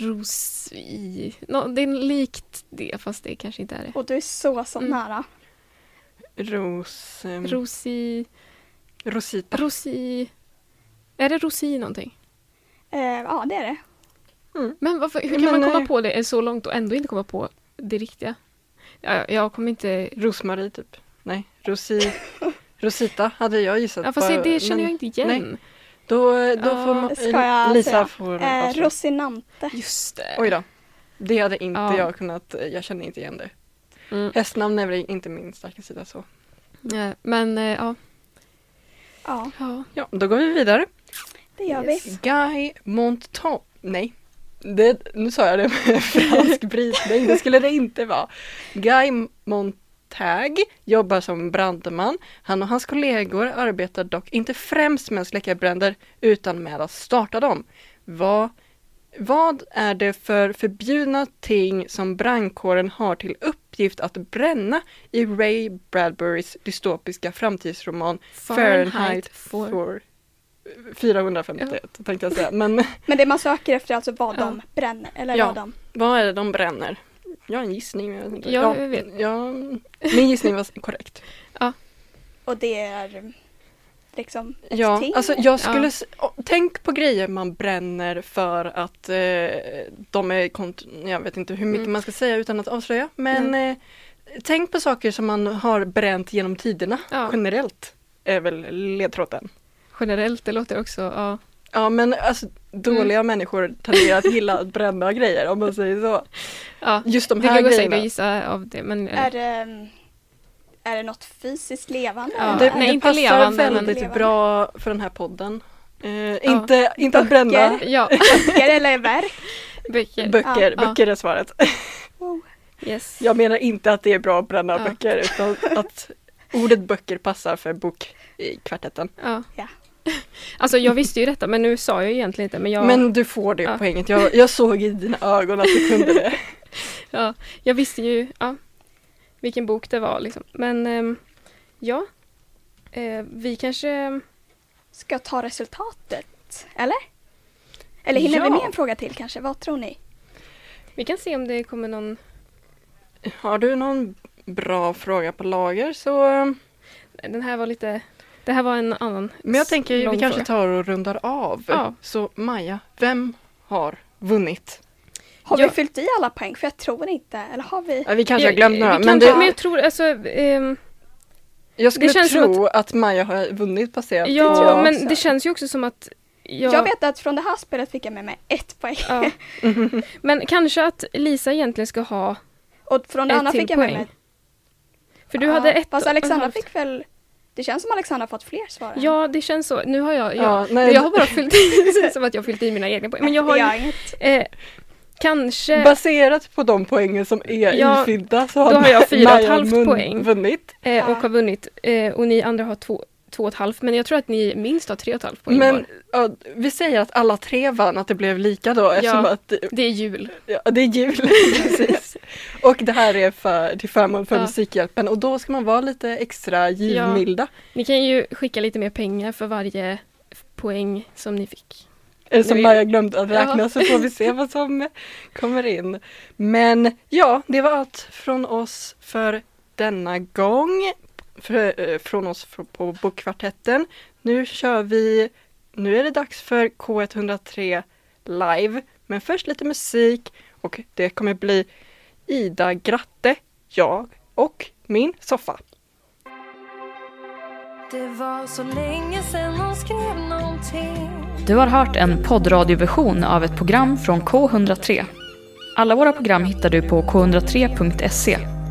S3: ros i... Nå, det är likt det, fast det kanske inte är det.
S4: Och du är så så
S3: Mm.
S4: nära.
S1: Ros... ehm,
S3: Rosi...
S1: Rosita.
S3: Rosi... Är det rosi någonting?
S4: Eh, ja det är det.
S3: Men varför, hur kan
S1: Men
S3: man
S1: nej.
S3: komma på det så långt och ändå inte komma på det riktiga? Jag, jag kommer inte...
S1: Rosmarie typ. Nej, Rosi... Rosita hade jag gissat
S3: Ja, fast
S1: på.
S3: det, det känner
S1: men
S3: jag inte igen.
S1: nej. Då, då
S3: Ja,
S1: får man,
S4: ska jag
S1: Lisa
S4: säga.
S1: får
S4: Eh,
S1: avslöja.
S4: Rosinante.
S3: Just det.
S1: Oj då. Det hade inte
S3: Ja.
S1: jag kunnat, jag kände inte igen det.
S3: Mm.
S1: Hästnamn är väl inte min starka sida så.
S3: Nej, Men, eh, ja.
S4: Ja
S3: ja.
S1: Ja, då går vi vidare.
S4: det gör vi.
S1: Guy Montand. Nej. Det, nu sa jag det med fransk brytning, det skulle det inte vara. Guy Montag jobbar som brandman. Han och hans kollegor arbetar dock inte främst med att släcka bränder utan med att starta dem. Vad, vad är det för förbjudna ting som brandkåren har till uppgift att bränna i Ray Bradburys dystopiska framtidsroman Fahrenheit,
S3: for-
S1: 451 tänkte jag säga. Men
S4: Men det man söker efter är alltså vad
S3: Ja.
S4: de bränner. Eller
S1: Ja.
S4: vad de...
S1: vad är det de bränner? Jag har en gissning. men Jag vet inte.
S3: Ja, jag vet.
S1: ja, min gissning var korrekt.
S4: Och det är mm, liksom ett
S1: Ja,
S4: ting.
S1: alltså jag skulle...
S3: Ja.
S1: s- å- Tänk på grejer man bränner för att eh, de är... Kont- jag vet inte hur mycket
S3: Mm.
S1: man ska säga utan att avslöja. Men eh, tänk på saker som man har bränt genom tiderna
S3: Ja.
S1: generellt. Är väl ledtråden.
S3: Generellt, det låter också... Ja.
S1: Ja men alltså dåliga människor tenderar att gilla att bränna grejer om man säger så.
S3: ja.
S1: Just de
S3: Det
S1: här
S3: kan gå säkert
S1: grejerna.
S3: att gissa av det, men... eh,
S4: Är det, är det något fysiskt levande?
S3: Ja.
S1: Det,
S4: Eller-
S3: Nej,
S1: det
S3: inte
S1: passar
S3: levande, men-
S1: väldigt typ
S4: Levande.
S1: bra för den här podden. Eh, Inte, inte att bränna
S3: Ja,
S4: Böcker eller verk?
S3: böcker.
S1: böcker.
S3: Ja.
S1: Böcker är svaret.
S4: Wow.
S3: Yes.
S1: Jag menar inte att det är bra att bränna
S3: Ja.
S1: böcker utan att ordet böcker passar för bok i kvartetten.
S3: Ja.
S4: Ja.
S3: Alltså jag visste ju detta men nu sa jag ju egentligen inte men jag,
S1: Men du får det
S3: Ja.
S1: poänget. Jag, jag såg i dina ögon att du kunde det.
S3: ja, jag visste ju ja, vilken bok det var liksom. Men ehm, ja, eh, vi kanske,
S4: Ska jag ta resultatet? Eller? Eller hinner vi
S1: Ja.
S4: med en fråga till kanske? Vad tror ni?
S3: vi kan se om det kommer någon,
S1: Har du någon bra fråga på lager så... eh,
S3: den här var lite, det här var en annan.
S1: Men jag tänker vi
S3: lång
S1: kanske
S3: fråga.
S1: tar och rundar av.
S3: Ja.
S1: Så Maja, vem har vunnit?
S4: Har
S3: Ja.
S4: vi fyllt i alla poäng? För jag tror inte. Eller har vi?
S1: Ja, Vi kanske har glömt
S3: Ja,
S1: några
S3: vi
S1: men
S3: kanske-
S1: det,
S3: men jag tror alltså, ehm,
S1: Jag skulle
S3: Det känns som
S1: tro att... Maja har vunnit baserat
S4: tror jag
S3: ja men
S4: också.
S3: det känns ju också som att jag,
S4: Jag vet att från det här spelet fick jag med mig ett poäng.
S3: ja. Men kanske att Lisa egentligen ska ha,
S4: Och från det
S3: Ett
S4: andra
S3: till
S4: fick jag med
S3: poäng.
S4: mig...
S3: för du
S4: Ja,
S3: hade ett
S4: Fast Alexandra
S3: och-
S4: fick väl... Det känns som Alexandra fått fler svar. än-
S3: Ja, det känns så. Nu har jag, jag,
S1: Ja, nej,
S3: jag har bara fyllt i, det känns som att jag har fyllt i mina egna poäng. Men jag har
S4: Det
S3: ju,
S4: gör inget.
S3: eh, kanske,
S1: Baserat på de poängen som är
S3: eh, Ja,
S1: ifyllda så har,
S3: då har jag fyra och ett
S1: Maja
S3: halvt
S1: mun-
S3: poäng.
S1: vunnit.
S3: eh, och har vunnit, eh, och ni andra har två, två och ett halvt, men jag tror att ni minst har tre och ett halvt poäng
S1: Men
S3: var.
S1: ja, vi säger att alla tre vann, att det blev lika då eftersom att
S3: Det är jul.
S1: ja, det är jul. precis. Och det här är för, till förmån för
S3: Ja.
S1: Musikhjälpen och då ska man vara lite extra givmilda.
S3: Ni kan ju skicka lite mer pengar för varje f- poäng som ni fick.
S1: Eller Som
S3: Nu är-
S1: Maja glömde att räkna
S3: Ja.
S1: så får vi se vad som kommer in. Men ja, det var allt från oss för denna gång. För, eh, från oss fr- på Bokkvartetten. Nu kör vi, nu är det dags för K103 live. Men först lite musik och det kommer bli Ida Gratte, jag och min soffa.
S5: Det var så länge sen hon skrev någonting
S2: Du har hört en poddradioversion av ett program från K103. Alla våra program hittar du på k103.se.